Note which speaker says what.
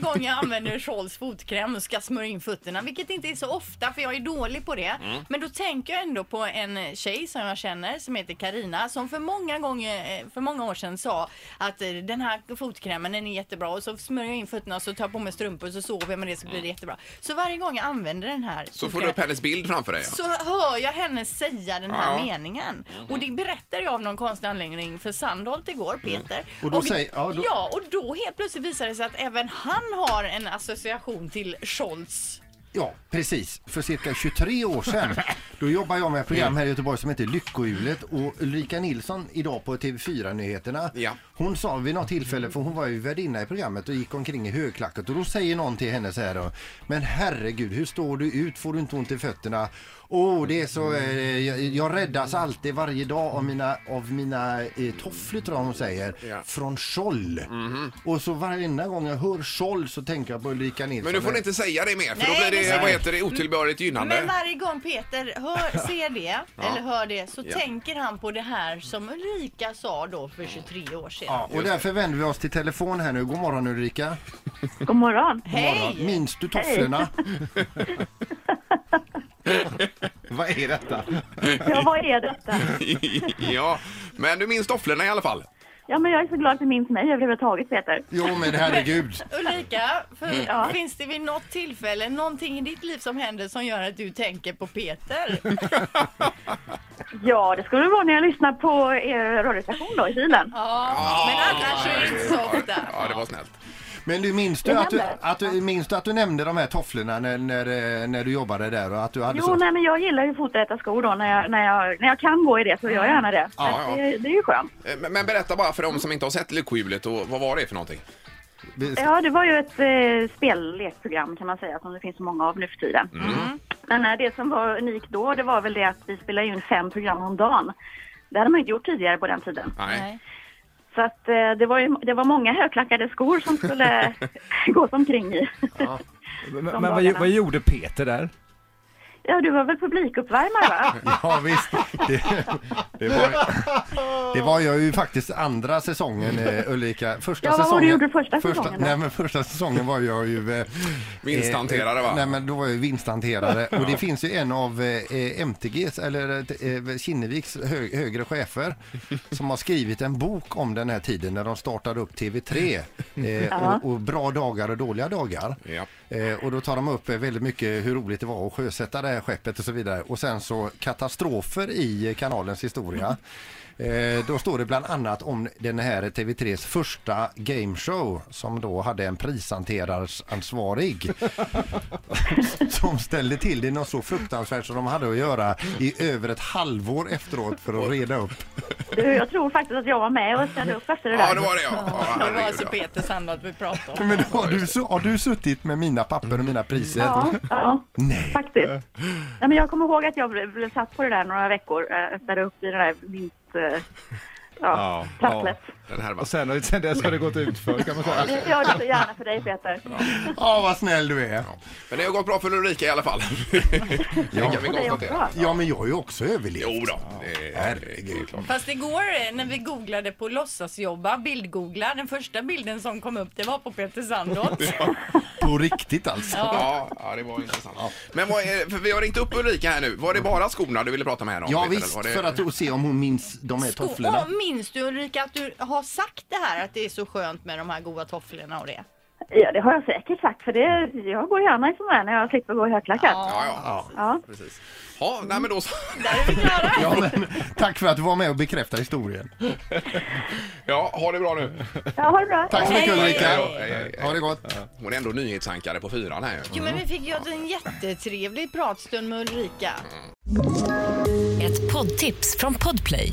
Speaker 1: gång jag använder Scholls fotkräm och ska smörja in fötterna, vilket inte är så ofta för jag är dålig på det.
Speaker 2: Mm.
Speaker 1: Men då tänker jag ändå på en tjej som jag känner som heter Karina som för många, gånger, eh, för många år sedan sa att eh, den här fotkrämen den är jättebra och så smörjer jag in fötterna och så tar jag på mig strumpor och så sover jag med det så blir det jättebra. Så varje gång jag använder den här
Speaker 2: Så får du upp hennes bild framför dig. ja.
Speaker 1: så hör jag henne säga den här
Speaker 2: Ja.
Speaker 1: meningen. Och det berättar jag av någon konstig anledning för Sandholt igår, Peter.
Speaker 3: Och då säger- ja,
Speaker 1: ja,
Speaker 3: då-
Speaker 1: och då helt plötsligt visar det sig att även han har en association till Scholz.
Speaker 3: Ja, precis. För cirka 23 år sedan då jobbade jag med ett program här i Göteborg som heter Lyckohjulet och Ulrika Nilsson idag på TV4-nyheterna.
Speaker 2: Ja.
Speaker 3: Hon sa vid något tillfälle, för hon var ju värdinna i programmet och gick omkring i högklackat och då säger någon till henne så här då, Men herregud, hur står du ut? Får du inte ont i fötterna? Åh, det är så, eh, jag, jag räddas alltid varje dag av mina, av mina eh, tofflor tror jag hon säger,
Speaker 2: Ja. Mhm.
Speaker 3: från Scholl. Och så varenda gång jag hör Scholl så tänker jag på Ulrika Nilsson.
Speaker 2: Men nu får ni inte säga det mer för då
Speaker 1: Nej,
Speaker 2: blir det,
Speaker 1: men-
Speaker 2: vad heter det, otillbörligt
Speaker 1: Men
Speaker 2: gynnande.
Speaker 1: varje gång Peter hör, ser det, eller hör det, så
Speaker 2: Ja.
Speaker 1: tänker han på det här som Ulrika sa då för 23 år sedan.
Speaker 3: Ja, och därför vänder vi oss till telefon här nu. God morgon Ulrika.
Speaker 4: God morgon.
Speaker 1: Hej!
Speaker 3: Minns du tofflorna? Vad är detta?
Speaker 4: Ja, vad är detta?
Speaker 2: ja, men du minns tofflorna i alla fall.
Speaker 4: Ja, men jag är så glad att du minns mig överhuvudtaget, Peter.
Speaker 3: Jo men herregud.
Speaker 1: Ulrika, för,
Speaker 4: Ja.
Speaker 1: finns det vid något tillfälle någonting i ditt liv som händer som gör att du tänker på Peter?
Speaker 4: Ja, det skulle det vara när jag lyssnar på er radiostation då i bilen.
Speaker 1: Ja, men annars är det inte så ofta.
Speaker 2: Ja, det var snällt.
Speaker 3: Men du minns du
Speaker 4: Jag
Speaker 3: att du,
Speaker 4: nämnde.
Speaker 3: att du, minns du, att du nämnde de här tofflorna när, när, eh, när du jobbade där och att du hade
Speaker 4: Jo,
Speaker 3: så?
Speaker 4: nej, men jag gillar ju foträta skor då när jag, när, jag, när jag kan gå i det så gör jag gärna det. Så
Speaker 2: Ja,
Speaker 4: att
Speaker 2: ja.
Speaker 4: Det, det är ju skönt.
Speaker 2: Eh, Men, men berätta bara för de som inte har sett Lyckohjulet, och vad var det för någonting?
Speaker 4: Ja, det var ju ett eh, spellekprogram kan man säga som det finns så många av nu för tiden. Men eh, det som var unikt då, det var väl det att vi spelade in fem program om dagen. Det hade man inte gjort tidigare på den tiden.
Speaker 2: Nej.
Speaker 4: Så att eh, det var, ju, det var många högklackade skor som skulle gås omkring i.
Speaker 5: Men,
Speaker 4: De
Speaker 5: men vad,
Speaker 4: dagarna.
Speaker 5: vad gjorde Peter där?
Speaker 4: Ja, du var väl publikuppvärmare va?
Speaker 3: Ja visst. Det, det, var, det var jag ju faktiskt andra säsongen eh, Ulrika. Första
Speaker 4: Ja, vad var det
Speaker 3: säsongen.
Speaker 4: du gjorde första säsongen då?
Speaker 3: nej, men första säsongen var jag ju... Eh,
Speaker 2: Vinsthanterare, va?
Speaker 3: eh, Nej men då var jag ju vinsthanterare. Och det finns ju en av eh, MTGs, eller eh, Kinneviks hö, högre chefer som har skrivit en bok om den här tiden när de startade upp TV3. Eh,
Speaker 4: Ja.
Speaker 3: och, och bra dagar och dåliga dagar.
Speaker 2: Ja.
Speaker 3: Eh, och då tar de upp eh, väldigt mycket hur roligt det var att sjösätta det här skeppet och så vidare. Och sen så katastrofer i eh, kanalens historia. Eh, då står det bland annat om den här TV3s första gameshow som då hade en prishanterarsvarig som ställde till det något så fruktansvärt som de hade att göra i över ett halvår efteråt för att reda upp.
Speaker 4: Du, jag tror faktiskt att jag var med och ställde upp efter det där.
Speaker 2: Ja, det var det ja. ja
Speaker 1: Det var
Speaker 2: herregud,
Speaker 1: alltså
Speaker 2: ja.
Speaker 1: Peter Sandholt vi pratade om.
Speaker 3: Men har du, su- har du suttit med mina papper och mina priser?
Speaker 4: Ja, ja
Speaker 3: Nej.
Speaker 4: faktiskt. Nej, men jag kommer ihåg att jag blev, blev satt på det där några veckor, eh, ställde upp i det där vinst... Eh,
Speaker 5: Ja,
Speaker 4: ja, trasslet.
Speaker 2: Den här va?
Speaker 5: Och sen, sen dess har det gått ut för kan man säga.
Speaker 4: Jag gör det så gärna för dig Peter.
Speaker 3: Ja, vad snäll du är.
Speaker 2: Men det har gått bra för Ulrika i alla fall. det kan vi
Speaker 4: Det är också.
Speaker 2: konstatera.
Speaker 3: Ja, men jag har ju också överlevt.
Speaker 2: Jo då, det är, det är klart.
Speaker 1: Fast igår eh, när vi googlade på låtsasjobba, bildgoogla, den första bilden som kom upp det var på Peter Sandholt.
Speaker 3: På riktigt alltså.
Speaker 2: Ja, ja, det var intressant. Men vad är, för vi har ringt upp Ulrika här nu. Var det bara skorna du ville prata med henne om?
Speaker 3: Ja
Speaker 2: Peter,
Speaker 3: visst,
Speaker 2: eller var det...
Speaker 3: för att se om hon minns de här
Speaker 1: Sko-
Speaker 3: tofflorna.
Speaker 1: Åh, minns du Ulrika att du har sagt det här att det är så skönt med de här goda tofflorna och det?
Speaker 4: Ja, det har jag säkert sagt för det, jag går gärna i sådana här när jag slipper gå i högklackat.
Speaker 2: Ja, ja. ja.
Speaker 4: Ja.
Speaker 2: Precis. Ja, nej men då så.
Speaker 1: Där är vi klara.
Speaker 3: Ja, men, tack för att du var med och bekräftade historien.
Speaker 2: Ja, ha det bra nu.
Speaker 4: ja, ha det bra.
Speaker 3: Tack så mycket
Speaker 1: Hej,
Speaker 3: Ulrika.
Speaker 2: hej, hej, hej.
Speaker 3: Ha det gott.
Speaker 2: Hon är ändå nyhetsankare på fyran här ju.
Speaker 1: Jo, men vi fick ju en jättetrevlig pratstund med Ulrika.
Speaker 6: Ett poddtips från Podplay.